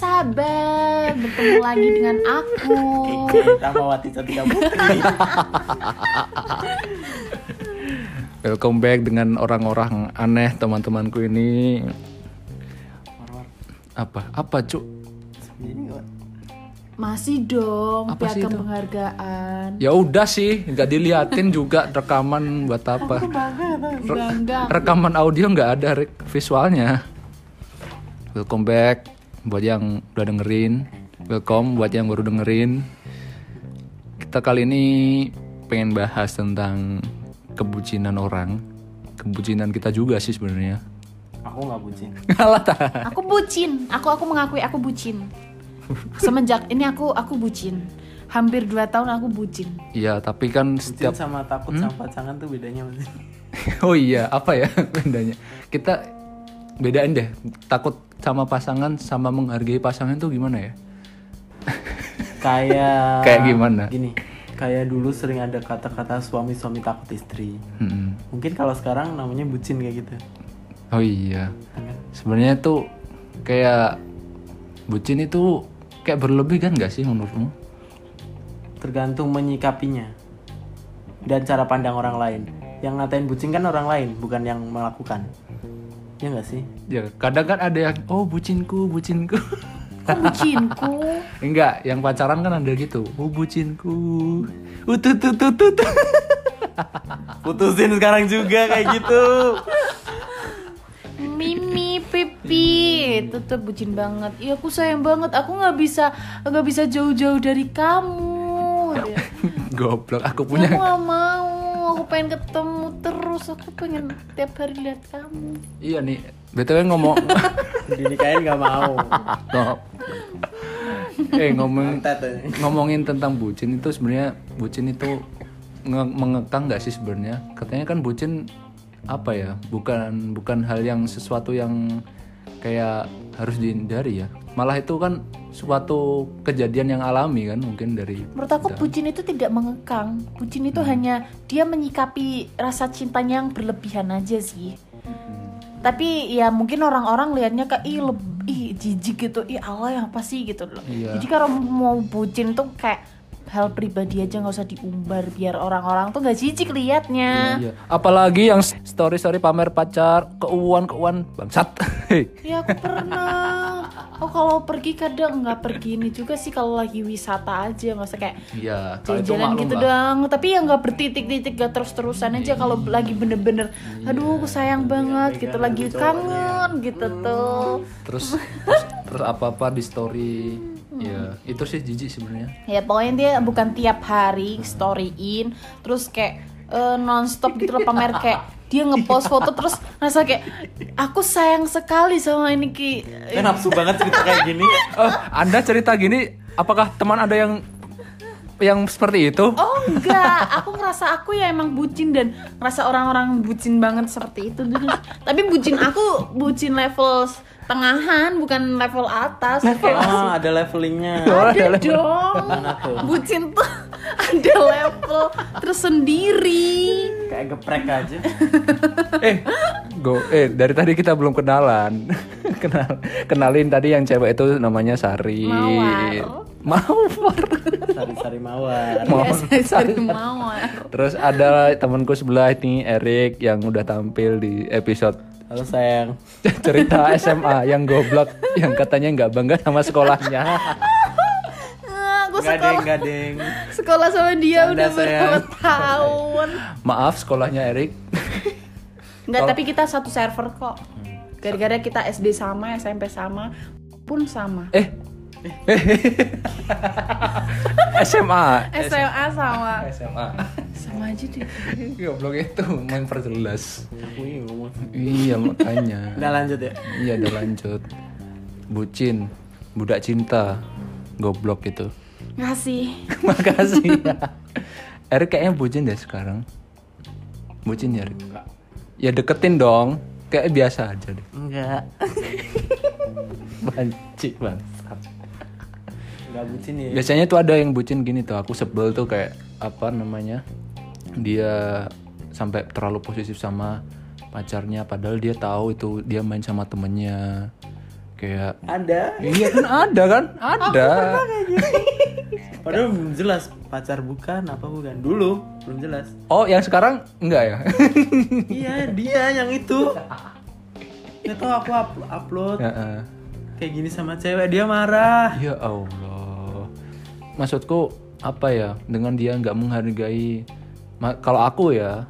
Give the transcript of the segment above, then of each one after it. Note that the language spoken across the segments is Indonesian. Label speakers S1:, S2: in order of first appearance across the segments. S1: kabar? ya, Bertemu lagi dengan aku.
S2: Ramawati Satika Putri.
S3: Welcome back dengan orang-orang aneh teman-temanku ini.
S2: War-war.
S3: Apa? Apa, Cuk?
S2: Ini kok
S1: Masih dong
S3: Apa sih
S1: piagam
S3: itu?
S1: penghargaan.
S3: Ya udah sih, nggak diliatin juga rekaman buat apa. Iya.
S1: Enggak, enggak.
S3: Rekaman audio nggak ada Rick. visualnya. Welcome back buat yang udah dengerin. Welcome buat yang baru dengerin. Kita kali ini pengen bahas tentang kebucinan orang. Kebucinan kita juga sih sebenarnya.
S2: aku nggak bucin.
S3: Alah, tah.
S1: Aku bucin. Aku aku mengakui aku bucin. Semenjak ini aku aku bucin. Hampir 2 tahun aku bucin.
S3: Iya, tapi kan
S2: Bucin
S3: setiap
S2: sama takut
S3: Hmm?
S2: sama pasangan tuh bedanya Mas.
S3: Oh iya, apa ya bedanya? Kita bedain deh. Takut sama pasangan sama menghargai pasangan tuh gimana ya?
S2: Kayak
S3: Kayak gimana?
S2: Gini. Kayak dulu sering ada kata-kata suami-suami takut istri.
S3: Mm-mm.
S2: Mungkin kalau sekarang namanya bucin kayak gitu.
S3: Oh iya. Sebenarnya tuh kayak bucin itu kayak berlebih kan gak sih menurutmu?
S2: Tergantung menyikapinya dan cara pandang orang lain. Yang ngatain bucin kan orang lain, bukan yang melakukan. Ya nggak sih?
S3: Ya, kadang kan ada yang oh bucinku, bucinku.
S1: Aku bucinku.
S3: Enggak, yang pacaran kan ada gitu. Oh bucinku. Uh, Ututututut.
S2: Putusin sekarang juga kayak gitu.
S1: Mimi, Pipi, tetep bucin banget. Iya aku sayang banget. Aku nggak bisa nggak bisa jauh-jauh dari kamu. Dia.
S3: Goblok,
S1: Ya, aku
S3: aku Ya punya
S1: gak mau aku pengen ketemu terus aku pengen tiap hari lihat kamu
S3: Iya nih, BTW ngomong
S2: Dinikahin nggak mau.
S3: Stop. eh ngomong
S2: Tet aja.
S3: ngomongin tentang bucin itu sebenarnya bucin itu nge- mengekang nggak sih sebenarnya? Katanya kan bucin apa ya? Bukan bukan hal yang sesuatu yang kayak harus dihindari ya. Malah itu kan suatu kejadian yang alami kan mungkin dari
S1: menurut aku bucin itu tidak mengekang bucin itu
S3: Hmm.
S1: hanya dia menyikapi rasa cintanya yang berlebihan aja sih
S3: Hmm.
S1: tapi ya mungkin orang-orang liatnya kayak ih leb- ih jijik gitu ih Allah apa sih gitu loh
S3: Iya.
S1: jadi kalau mau bucin tuh kayak hal pribadi aja nggak usah diumbar biar orang-orang tuh nggak jijik liatnya
S3: Iya. Apalagi yang story story pamer pacar, keuangan keuangan bangsat. Hei.
S1: Ya aku pernah. Oh kalau pergi kadang nggak pergi ini juga sih kalau lagi wisata aja, nggak usah kayak
S3: Iya, kalau itu
S1: jalan-jalan
S3: maklum
S1: gitu
S3: lah.
S1: doang. Tapi ya nggak bertitik-titik, nggak terus-terusan aja kalau lagi bener-bener,
S3: Iya,
S1: aduh aku sayang banget gitu, lagi kangen gitu
S3: Hmm.
S1: tuh.
S3: terus terus, terus apa apa di story ya itu sih jijik sebenarnya
S1: Ya pokoknya dia bukan tiap hari storyin, terus kayak eh, nonstop gitu loh pamer kayak dia ngepost foto terus rasa kayak aku sayang sekali sama ini ki.
S3: Nah,
S1: Ya
S2: Kan nafsu banget cerita kayak gini.
S3: Eh, anda cerita gini apakah teman ada yang yang seperti itu
S1: Oh enggak, aku ngerasa aku ya emang bucin dan ngerasa orang-orang bucin banget seperti itu. Tapi bucin aku bucin level tengahan, bukan level atas.
S2: Oh, ada levelingnya.
S1: Ada dong.
S2: Mana tuh?
S1: Bucin tuh ada level tersendiri.
S2: Kayak geprek aja.
S3: eh go eh dari tadi kita belum kenalan kenal kenalin tadi yang cewek itu namanya Sari
S1: Mawar.
S3: Mawar.
S2: Sari-sari mawar.
S1: Ya, saya ya. sering mawar.
S3: terus ada temanku sebelah ini Erik yang udah tampil di episode
S2: Halo sayang.
S3: cerita SMA yang goblok yang katanya nggak bangga sama sekolahnya
S1: Ah, Aku
S2: Gadeng,
S1: sekolah,
S2: gadeng.
S1: sekolah sama dia
S2: Canda,
S1: udah berapa
S2: sayang.
S1: tahun.
S3: maaf sekolahnya Erik
S1: Enggak, tapi kita satu server kok. Gara-gara kita SD sama, SMP sama, pun sama.
S3: Eh. SMA.
S1: SMA sama.
S3: SMA.
S1: Sama aja tuh.
S3: Goblok itu memperjelas.
S2: Aku ini ngomong.
S3: Iya makanya.
S2: Udah lanjut ya.
S3: Iya udah lanjut. Bucin, budak cinta. Goblok itu.
S1: Ngasih.
S3: Makasih ya. Erik kayaknya bucin deh sekarang. Bucin ya, Erik?
S2: Enggak.
S3: Ya deketin dong. Kayak biasa aja deh.
S2: Enggak.
S3: Banci banget.
S2: Enggak bucin ya.
S3: Biasanya tuh ada yang bucin gini tuh, aku sebel tuh kayak apa namanya? Dia sampai terlalu posesif sama pacarnya padahal dia tahu itu dia main sama temennya kayak
S2: Ada.
S3: iya kan ada kan ada
S2: Padahal belum jelas pacar bukan apa bukan dulu belum jelas.
S3: oh yang sekarang enggak ya
S2: iya dia yang itu. Gak tau aku up- upload
S3: Ya, eh.
S2: kayak gini sama cewek dia marah.
S3: Ya Allah. Maksudku apa ya? Dengan dia nggak menghargai. ma- kalau aku ya,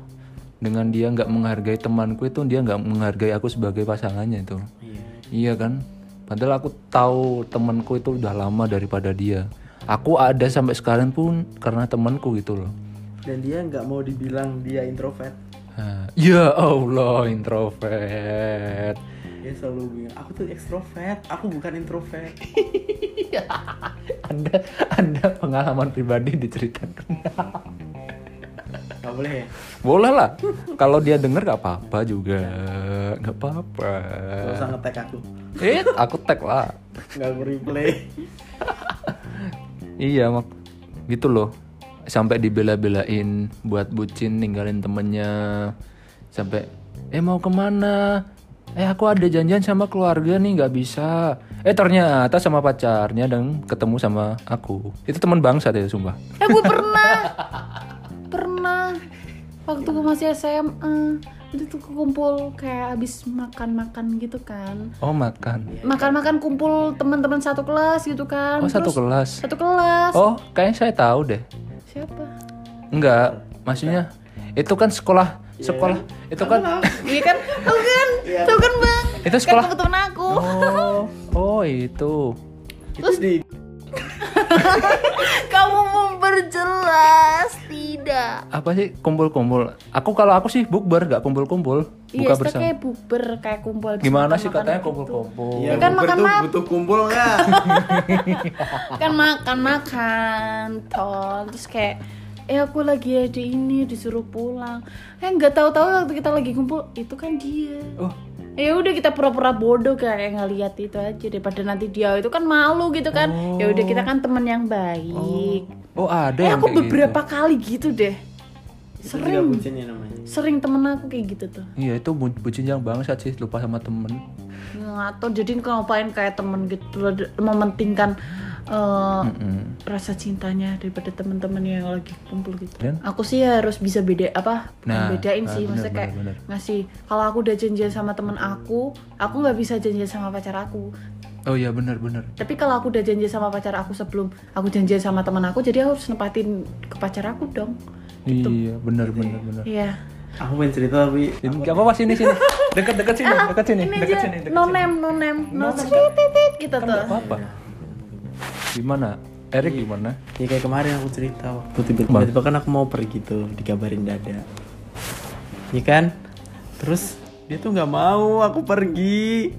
S3: dengan dia nggak menghargai temanku itu dia nggak menghargai aku sebagai pasangannya itu.
S2: Iya.
S3: Iya kan? Padahal aku tahu temanku itu udah lama daripada dia. Aku ada sampai sekarang pun karena temanku gitu loh.
S2: Dan dia nggak mau dibilang dia introvert.
S3: Hah, Ya Allah introvert.
S2: Dia selalu bilang aku tuh ekstrovert, aku bukan introvert.
S3: Anda Anda pengalaman pribadi diceritakan.
S2: Gak boleh ya?
S3: Boleh lah. Kalau dia denger gak apa-apa juga. Gak apa-apa.
S2: Gak usah ngetek aku.
S3: Eh, aku tag lah.
S2: Gak aku replay.
S3: Iya, mak. Gitu loh. Sampai dibela-belain buat bucin ninggalin temennya. Sampai, eh mau kemana? Eh aku ada janjian sama keluarga nih nggak bisa. Eh ternyata sama pacarnya dan ketemu sama aku. Itu teman bangsa ya sumpah.
S1: Eh gue pernah Pernah Waktu gue masih SMA Itu tuh kumpul kayak abis makan-makan gitu kan
S3: Oh makan.
S1: Makan-makan kumpul teman-teman satu kelas gitu kan
S3: Oh satu
S1: Terus-
S3: kelas.
S1: Satu kelas
S3: Oh kayaknya saya tahu deh.
S1: Siapa?
S3: Enggak, maksudnya itu kan sekolah sekolah itu kan
S1: Iya kan? Tau kan? Tau kan bang?
S3: Itu sekolah.
S1: Kan kebetulan aku
S3: oh oh itu
S2: Terus di
S1: Kamu memperjelas Tidak
S3: apa sih kumpul-kumpul? Aku kalau aku sih bukber nggak kumpul-kumpul buka
S1: Iya, kita
S3: bersama.
S1: kayak bukber, kayak kumpul abis
S3: Gimana sih
S1: makan-makan
S3: katanya
S1: gitu.
S3: kumpul-kumpul?
S2: Iya,
S1: kan
S2: Uber
S1: makan
S2: tuh
S1: mak-
S2: butuh kumpul nggak?
S1: kan makan makan tol terus kayak eh aku lagi ada ini disuruh pulang eh nggak tahu-tahu waktu kita lagi kumpul itu kan dia
S3: Oh,
S1: ya udah kita pura-pura bodoh kayak ngeliat itu aja daripada nanti dia itu kan malu gitu kan ya udah kita kan teman yang baik
S3: oh ada
S1: eh
S3: yang
S1: aku
S3: kayak
S1: beberapa kali gitu deh
S2: Itu juga
S1: sering
S2: bucinnya namanya.
S1: sering temen aku kayak gitu tuh
S3: gitu. Iya itu bu- bucin yang bangsat sih lupa sama temen.
S1: atau jadi ngapain kayak temen gitu mementingkan eh,
S3: Mm-mm.
S1: rasa cintanya daripada teman-teman yang lagi kumpul gitu.
S3: Dan?
S1: Aku sih harus bisa beda apa?
S3: Kan? Nah,
S1: bedain
S3: ah,
S1: sih,
S3: benar,
S1: maksudnya kayak
S3: benar,
S1: ngasih. Kalau aku udah janjian sama temen aku, aku nggak bisa janjian sama pacar aku.
S3: Oh iya benar-benar.
S1: Tapi kalau aku udah janjian sama pacar aku sebelum aku janjian sama temen aku, jadi aku harus nepatin ke pacar aku dong.
S3: Iya benar-benar benar.
S1: Iya.
S2: Aku pengen cerita tapi
S3: Ini gak apa-apa sini sini. Dekat-dekat sini, dekat sini,
S1: Ah, Ini
S3: dekat
S1: aja
S3: sini, dekat
S1: no
S3: sini.
S1: name, no name, no titit, titit, gitu
S3: Kan
S1: tuh.
S3: nggak apa-apa. Gimana? Erik gimana?
S2: ya kayak kemarin aku cerita waktu tiba-tiba, tiba kan aku mau pergi tuh dikabarin dada. Ya kan? Terus dia tuh nggak mau aku pergi.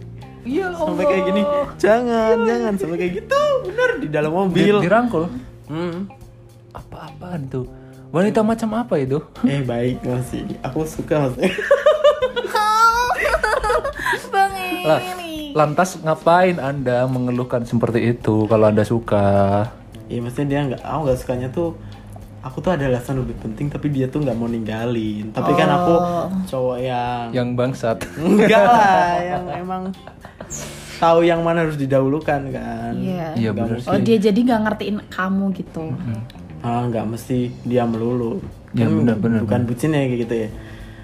S3: Iya,
S2: Sampai kayak gini, jangan, jangan sampai kayak gitu. Bener di dalam mobil.
S3: dirangkul.
S2: Hmm.
S3: Apa-apaan tuh? Wanita macam apa itu?
S2: Eh baik masih, aku suka maksudnya.
S1: Bang
S3: Lah,
S1: ini.
S3: lantas ngapain Anda mengeluhkan seperti itu kalau Anda suka?
S2: Iya maksudnya dia nggak, aku nggak sukanya tuh aku tuh ada alasan lebih penting tapi dia tuh nggak mau ninggalin. Tapi kan aku cowok yang
S3: Yang bangsat.
S2: enggak lah yang emang tahu yang mana harus didahulukan kan.
S1: Iya.
S3: Iya benar sih.
S1: Oh dia jadi nggak ngertiin kamu gitu.
S2: Ah nggak mesti dia melulu. Kan
S3: Ya, benar, benar,
S2: Bukan bucin ya kayak gitu ya.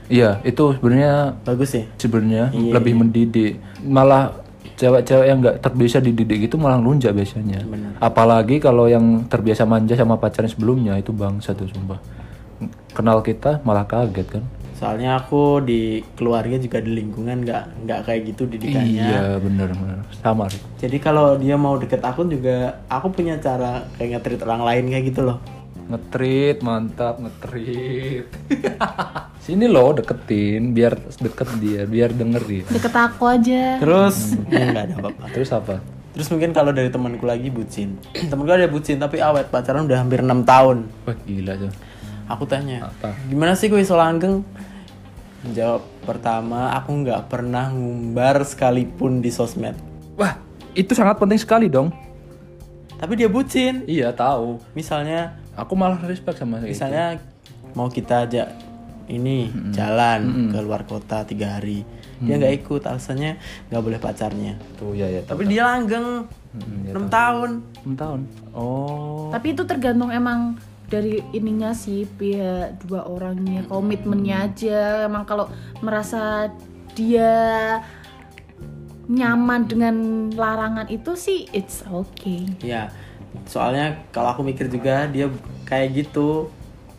S3: Iya, itu sebenarnya
S2: Bagus ya.
S3: sebenarnya lebih mendidik. Malah cewek-cewek yang nggak terbiasa dididik itu malah lunjak biasanya. Apalagi kalau yang terbiasa manja sama pacarnya sebelumnya itu bangsa tuh sumpah. Kenal kita malah kaget kan?
S2: Soalnya aku di keluarga juga di lingkungan nggak nggak kayak gitu didikannya.
S3: Iya benar benar. Sama. Rik.
S2: Jadi kalau dia mau deket aku juga aku punya cara kayak nge-treat orang lain kayak gitu loh.
S3: Ngetrit, mantap ngetrit. Sini loh deketin, biar deket dia, biar dengerin.
S1: Deket aku aja.
S2: Terus ya nggak ada apa-apa.
S3: Terus apa?
S2: Terus mungkin kalau dari temanku lagi bucin. Temanku ada bucin tapi awet pacaran udah hampir 6 tahun.
S3: Wah gila tuh.
S2: Aku tanya,
S3: Apa?
S2: gimana sih gue iso langgeng? Jawab pertama, aku nggak pernah ngumbar sekalipun di sosmed.
S3: Wah itu sangat penting sekali dong.
S2: Tapi dia bucin.
S3: Iya tahu.
S2: Misalnya,
S3: Aku malah respect sama dia.
S2: misalnya mau kita aja ini jalan ke luar kota tiga hari dia nggak ikut alasannya nggak boleh pacarnya
S3: Tuh ya ya.
S2: tapi dia langgeng enam tahun
S3: tahun. Oh.
S1: Tapi itu tergantung emang dari ininya sih pihak dua orangnya komitmennya aja. Emang kalau merasa dia nyaman dengan larangan itu sih it's okay.
S2: ya soalnya kalau aku mikir juga dia kayak gitu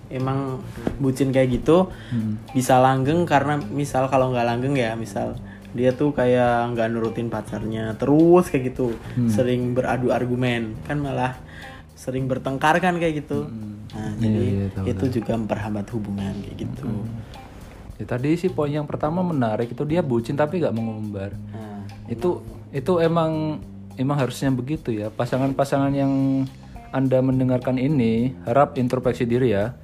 S2: emang bucin kayak gitu
S3: Hmm.
S2: bisa langgeng karena misal kalau nggak langgeng ya misal dia tuh kayak nggak nurutin pacarnya terus kayak gitu
S3: Hmm.
S2: sering beradu argumen kan malah sering bertengkar kan kayak gitu nah jadi
S3: iya, tahu,
S2: itu juga memperhambat hubungan kayak gitu
S3: Ya, tadi sih poin yang pertama menarik itu dia bucin tapi nggak mengumbar.
S2: Nah,
S3: Itu itu emang emang harusnya begitu ya. Pasangan-pasangan yang Anda mendengarkan ini harap introspeksi diri ya.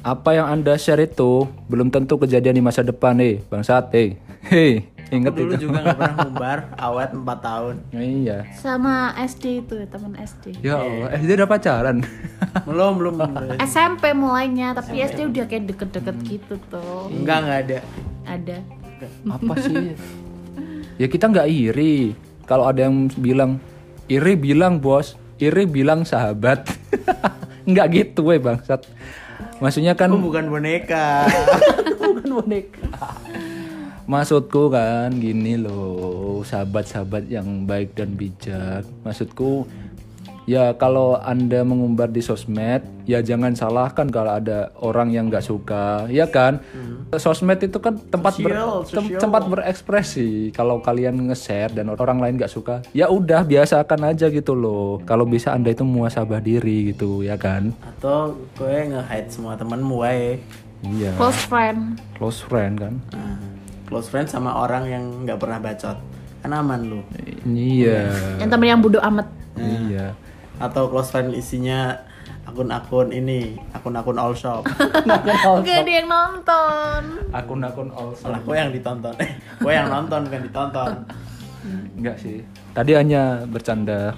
S3: Apa yang Anda share itu belum tentu kejadian di masa depan, eh Bangsat, eh. Hei, ingat
S2: dulu
S3: itu.
S2: juga nggak pernah ngumbar awet 4 tahun
S3: Iya.
S1: Sama SD itu teman SD.
S3: Ya Allah, eh dia udah pacaran.
S2: belum belum
S1: SMP mulainya, tapi SD udah kayak deket-deket gitu tuh.
S2: enggak nggak ada
S1: Ada.
S3: Apa sih? ya kita nggak iri. Kalau ada yang bilang iri bilang bos, iri bilang sahabat. nggak gitu weh bangsat. Maksudnya kan
S2: aku bukan boneka
S3: bukan boneka. Maksudku kan gini loh, sahabat-sahabat yang baik dan bijak. Maksudku ya kalau Anda mengumbar di sosmed, ya jangan salahkan kalau ada orang yang nggak suka, ya kan? Sosmed itu kan tempat ber-
S2: Hmm. Sosial,
S3: tem-
S2: sosial.
S3: tempat berekspresi. Kalau kalian nge-share dan orang lain nggak suka, ya udah biasakan aja gitu loh. Kalau bisa Anda itu muasabah diri gitu, ya kan?
S2: atau gue nge-hide semua temenmu wae
S3: Iya.
S1: Close friend.
S3: Close friend kan?
S2: Nah, close friend sama orang yang nggak pernah bacot kan aman lu
S3: Iya.
S1: Yang temen yang bodoh amat.
S3: Iya.
S2: atau close friend isinya akun-akun ini akun-akun all shop
S1: Gak ada yang nonton.
S3: akun-akun all shop.
S2: malah gue yang ditonton eh gue yang nonton bukan ditonton
S3: enggak sih tadi hanya bercanda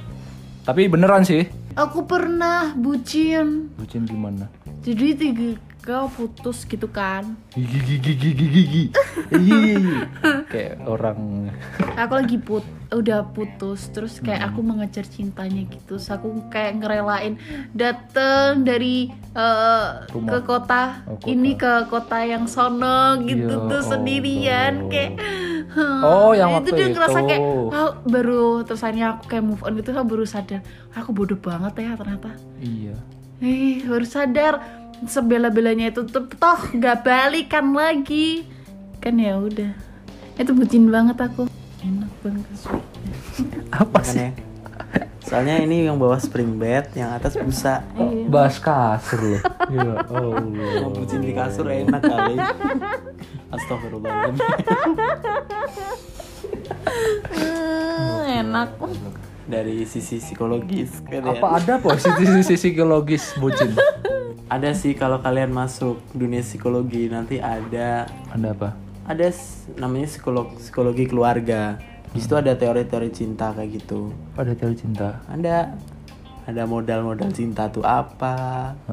S3: tapi beneran sih
S1: Aku pernah bucin.
S3: bucin gimana
S1: Jadi tiga kau putus gitu kan.
S3: gigi gigi gigi gigi Iya. kayak orang
S1: Aku lagi put udah putus terus
S3: Hmm.
S1: kayak aku mengejar cintanya gitu. Terus aku kayak ngerelain dateng dari eh,
S3: Rumah.
S1: ke kota,
S3: Oh, kota.
S1: ini ke kota yang sono gitu
S3: Ya
S1: tuh sendirian
S3: Allah.
S1: kayak
S3: Oh, yang waktu
S1: dia ngerasa
S3: itu.
S1: kayak "Ah, baru terus akhirnya aku kayak move on gitu aku baru sadar aku bodoh banget ya ternyata
S3: iya
S1: Ih, baru sadar sebela-belanya itu tetep toh nggak balikan lagi. Kan ya udah. Itu bucin banget aku. Enak banget.
S3: apa
S2: makanya
S3: sih
S2: ya? soalnya ini yang bawah spring bed yang atas busa
S3: bahas kasur loh ya
S2: Mau
S3: Allah
S2: bucin di kasur enak kali astagfirullahaladzim
S1: Eh, enak.
S2: dari sisi psikologis kalian.
S3: apa ada positif sisi psikologis bucin
S2: ada sih kalau kalian masuk dunia psikologi nanti ada
S3: ada apa
S2: ada s- namanya psikolog psikologi keluarga di situ ada teori-teori cinta kayak gitu
S3: pada teori cinta
S2: ada ada modal-modal cinta tuh apa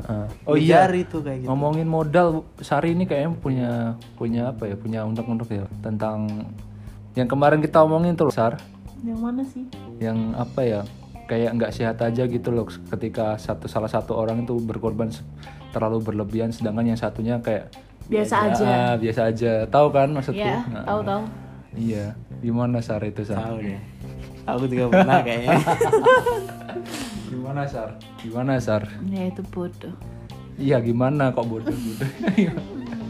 S3: Heeh.
S2: oh iya tuh kayak gitu
S3: ngomongin modal Sari ini kayaknya punya punya apa ya punya undang-undang ya tentang yang kemarin kita omongin tuh loh, Sar
S1: Yang mana sih?
S3: yang apa ya kayak nggak sehat aja gitu loh ketika satu salah satu orang itu berkorban se- terlalu berlebihan sedangkan yang satunya kayak
S1: Biasa aja.
S3: "Ah, biasa aja tahu kan maksudku
S1: Ya,
S3: Nah,
S1: tahu-tahu.
S3: iya gimana sar itu sar
S2: tahu deh aku juga pernah kayaknya
S3: gimana sar gimana sar
S1: Ya itu bodoh.
S3: iya gimana kok Iya, bodoh bodoh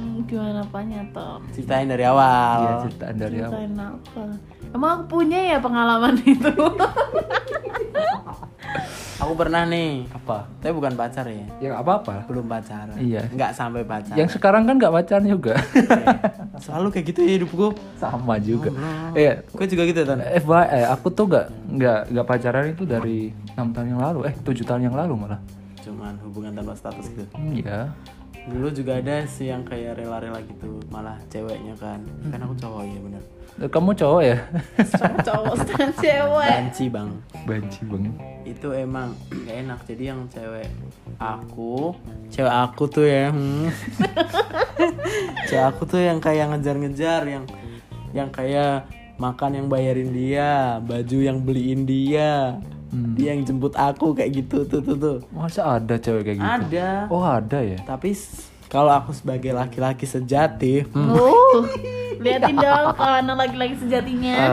S1: Hmm, gimana apanya toh?
S2: ceritain dari awal
S3: iya ceritaan dari apa
S1: Ceritain apa? Emang aku punya ya pengalaman itu?
S2: aku pernah nih
S3: apa
S2: tapi bukan pacar ya
S3: ya apa apa
S2: belum pacaran
S3: Iya.
S2: nggak sampai pacaran
S3: yang sekarang kan nggak pacaran juga
S2: selalu kayak gitu ya hidup gue
S3: sama juga eh
S2: gue juga gitu ton
S3: FYI, eh, aku tuh nggak nggak nggak pacaran itu dari enam tahun yang lalu, eh tujuh tahun yang lalu malah.
S2: cuman hubungan tanpa status gitu
S3: Iya.
S2: dulu juga ada sih yang kayak rela-rela gitu malah ceweknya kan kan aku cowok ya bener
S3: Kamu cowok ya?
S1: Cowok sama cewek.
S2: banci bang
S3: Benci banget.
S2: itu emang gak enak jadi yang cewek aku cewek aku tuh ya hmm. cewek aku tuh yang kayak ngejar-ngejar yang yang kayak makan yang bayarin dia baju yang beliin dia dia yang jemput aku kayak gitu tuh tuh tuh
S3: Masa ada cewek kayak gitu?
S2: ada
S3: Oh ada ya?
S2: tapi s- kalau aku sebagai laki-laki sejati hmm,
S1: Oh, liatin dong kalau anak lagi-lagi sejatinya.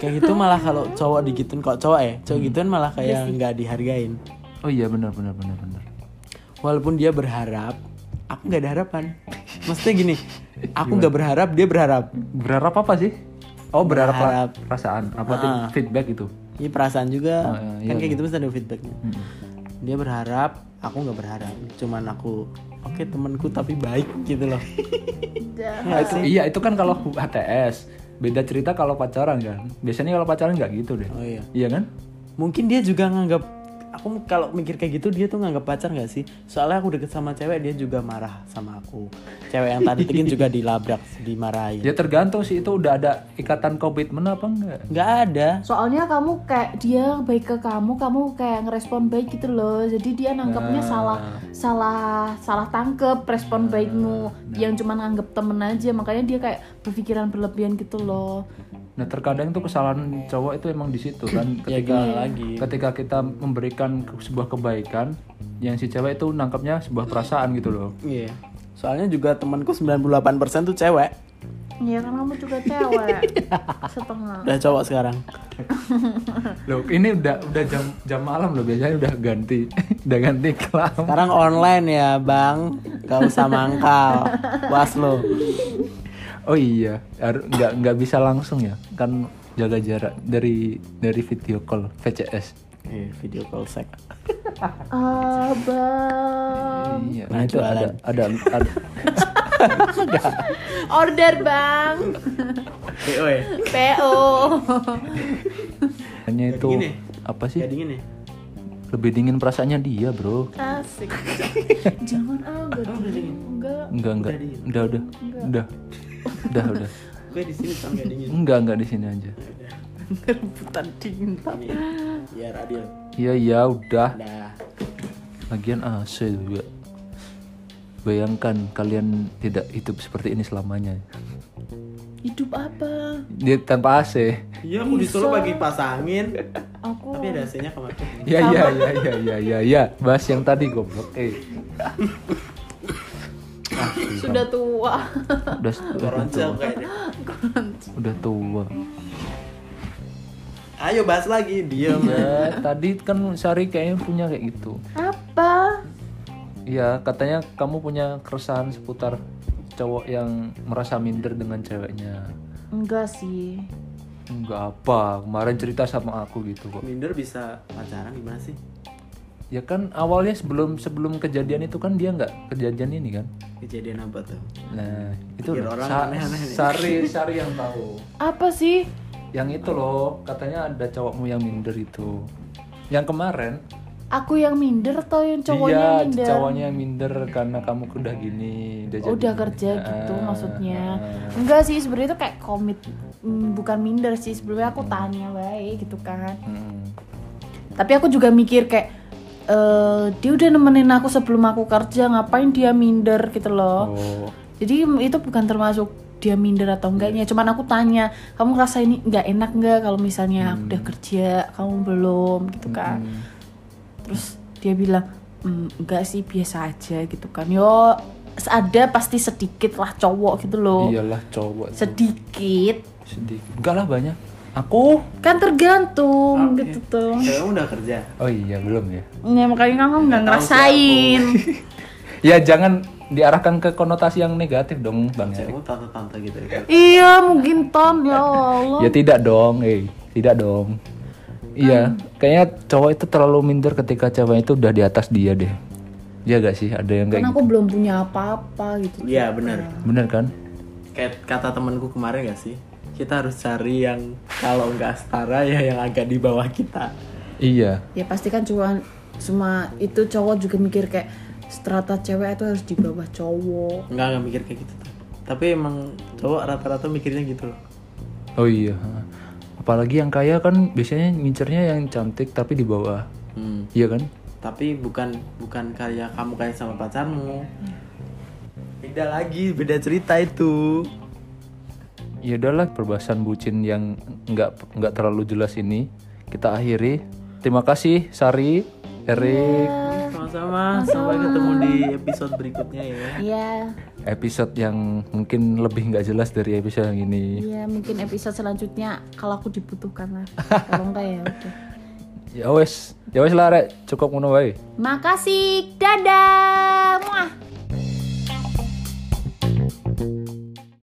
S2: kayak gitu malah kalau cowok digituin kok cowok ya cowok gituin malah kayak nggak dihargain
S3: Oh iya benar benar benar benar.
S2: walaupun dia berharap aku nggak ada harapan maksudnya gini aku nggak berharap dia berharap
S3: Berharap apa sih? Oh berharap,
S2: Berharap. Ah.
S3: perasaan apa tuh? feedback itu?
S2: ini perasaan juga
S3: Oh, iya,
S2: kan kayak gitu mesti ada feedbacknya dia berharap aku nggak berharap cuman aku oke temanku tapi baik gitu loh Nggak sih?
S3: Iya itu kan kalau HTS beda cerita kalau pacaran kan. Biasanya kalau pacaran nggak gitu deh.
S2: oh iya
S3: Iya kan?
S2: mungkin dia juga nganggap aku kalau mikir kayak gitu dia tuh nganggap pacar nggak sih soalnya aku deket sama cewek dia juga marah sama aku cewek yang tadi tekin juga dilabrak dimarahin
S3: Ya tergantung sih itu udah ada ikatan komitmen apa enggak.
S2: nggak ada
S1: Soalnya kamu kayak dia baik ke kamu, kamu kayak ngerespon baik gitu loh. Jadi dia nangkepnya
S2: Nah.
S1: salah salah salah tangkep respon baikmu.
S2: nah.
S1: Dia yang cuma nganggep temen aja, makanya dia kayak berpikiran berlebihan gitu loh.
S3: Nah terkadang tuh kesalahan cowok itu emang di situ kan
S2: ya
S3: ketika
S2: gak lagi
S3: ketika kita memberikan ke- sebuah kebaikan yang si cewek itu nangkapnya sebuah perasaan gitu loh.
S2: iya soalnya juga temanku 98% tuh cewek
S1: Ya kan kamu juga cewek setengah.
S2: udah cowok sekarang
S3: Loh, ini udah udah jam jam malam loh biasanya udah ganti udah ganti kelam.
S2: sekarang online ya bang gak usah mangkal was lo
S3: Oh iya, har- nggak nggak bisa langsung ya kan jaga jarak dari dari video call VCS.
S2: Eh, video call sek
S1: Abang,
S3: Iya, nah itu ada ada, ada
S1: order bang,
S2: Eh,
S1: PO.
S3: hanya itu
S2: dingin ya?
S3: apa sih?
S2: jadi gini
S3: Lebih dingin perasaannya dia, Bro.
S1: Asik. Jangan ah, enggak dingin. Enggak.
S3: Enggak, enggak. Udah, udah. Udah. Udah, udah.
S2: gue di sini sampai dingin
S3: Enggak, enggak di sini aja.
S2: rebutan dingin tapi ya radio
S3: Iya, iya, udah.
S2: nah
S3: Lagian AC juga. Bayangkan kalian tidak hidup seperti ini selamanya.
S1: Hidup apa?
S3: Dia tanpa AC.
S2: Iya, aku di Solo bagi pasangin.
S1: Aku
S2: Tapi ada AC-nya kemarin.
S3: Ya ya ya ya ya ya ya. Bahas yang tadi goblok. Eh. Ah, sumpah.
S1: sudah tua.
S3: udah udah
S2: Koroncel kayaknya.
S3: udah tua.
S2: Ayo bahas lagi, diem.
S3: Ya, tadi kan Sari kayaknya punya kayak gitu.
S1: apa?
S3: Iya, katanya kamu punya keresahan seputar cowok yang merasa minder dengan ceweknya.
S1: Enggak sih.
S3: Enggak apa, kemarin cerita sama aku gitu kok.
S2: Minder bisa pacaran gimana sih?
S3: Ya kan awalnya sebelum sebelum kejadian itu kan dia nggak kejadian ini kan.
S2: Kejadian apa tuh?
S3: Nah, itu
S2: Pikir orang
S3: Sa-
S2: aneh-aneh nih.
S3: Sari Sari yang tahu.
S1: Apa sih?
S3: Yang itu loh, katanya ada cowokmu yang minder itu. Yang kemarin
S1: Aku yang minder atau yang cowoknya
S3: iya,
S1: yang minder?
S3: cowoknya yang minder karena kamu udah gini, udah, jadi
S1: Udah
S3: gini.
S1: kerja gitu
S3: Ah,
S1: maksudnya.
S3: ah.
S1: Enggak sih, sebenarnya itu kayak komit Hmm, bukan minder sih, sebenarnya aku tanya baik gitu kan.
S3: Hmm.
S1: Tapi aku juga mikir kayak eh, dia udah nemenin aku sebelum aku kerja, ngapain dia minder gitu loh.
S3: Oh.
S1: Jadi itu bukan termasuk dia minder atau enggaknya.
S3: Iya.
S1: Cuman aku tanya, kamu ngerasa ini nggak enak nggak kalau misalnya
S3: Hmm.
S1: aku udah kerja, kamu belum gitu kan? Terus dia bilang, "Mm, enggak sih biasa aja gitu kan. Yo ada pasti sedikit lah cowok gitu loh.
S3: Iyalah cowok tuh.
S1: Sedikit
S3: sedikit. Enggak lah banyak. Aku?
S1: kan tergantung
S2: Oke.
S1: gitu tuh.
S2: Cewekmu udah kerja.
S3: Oh iya belum ya.
S1: Ya makanya kamu nggak ngerasain.
S3: Ya jangan diarahkan ke konotasi yang negatif dong bang. ya. Erik.
S2: Cewekmu tante-tante gitu. ya.
S1: iya mungkin ton ya Allah.
S3: Ya tidak dong, eh tidak dong. Iya,
S1: Kan-
S3: kayaknya cowok itu terlalu minder ketika cewek itu udah di atas dia deh. Iya gak sih? Ada yang kayak
S1: Karena aku belum punya apa-apa gitu.
S2: Iya, benar.
S3: gitu. bener kan?
S2: Kayak kata temanku kemarin gak sih? Kita harus cari yang kalau nggak setara ya yang agak di bawah kita.
S3: Iya.
S1: ya pasti kan cuma cuma itu cowok juga mikir kayak strata cewek itu harus di bawah cowok
S2: Nggak nggak mikir kayak gitu. Tapi emang cowok rata-rata mikirnya gitu loh.
S3: Oh iya. apalagi yang kaya kan biasanya ngincernya yang cantik tapi di bawah
S2: Hmm.
S3: iya kan
S2: tapi bukan bukan karya kamu kayak sama pacarmu beda lagi beda cerita itu
S3: ya udahlah perbahasan bucin yang nggak nggak terlalu jelas ini kita akhiri terima kasih Sari Erik
S1: Iya.
S2: sama-sama sampai ketemu di episode berikutnya ya
S1: Iya,
S3: episode yang mungkin lebih nggak jelas dari episode yang ini
S1: iya mungkin episode selanjutnya kalau aku dibutuhkan lah. Kalau enggak ya udah.
S3: ya wes ya wes lah Rek. cukup ngono wae
S1: Makasih, dadah. Muah.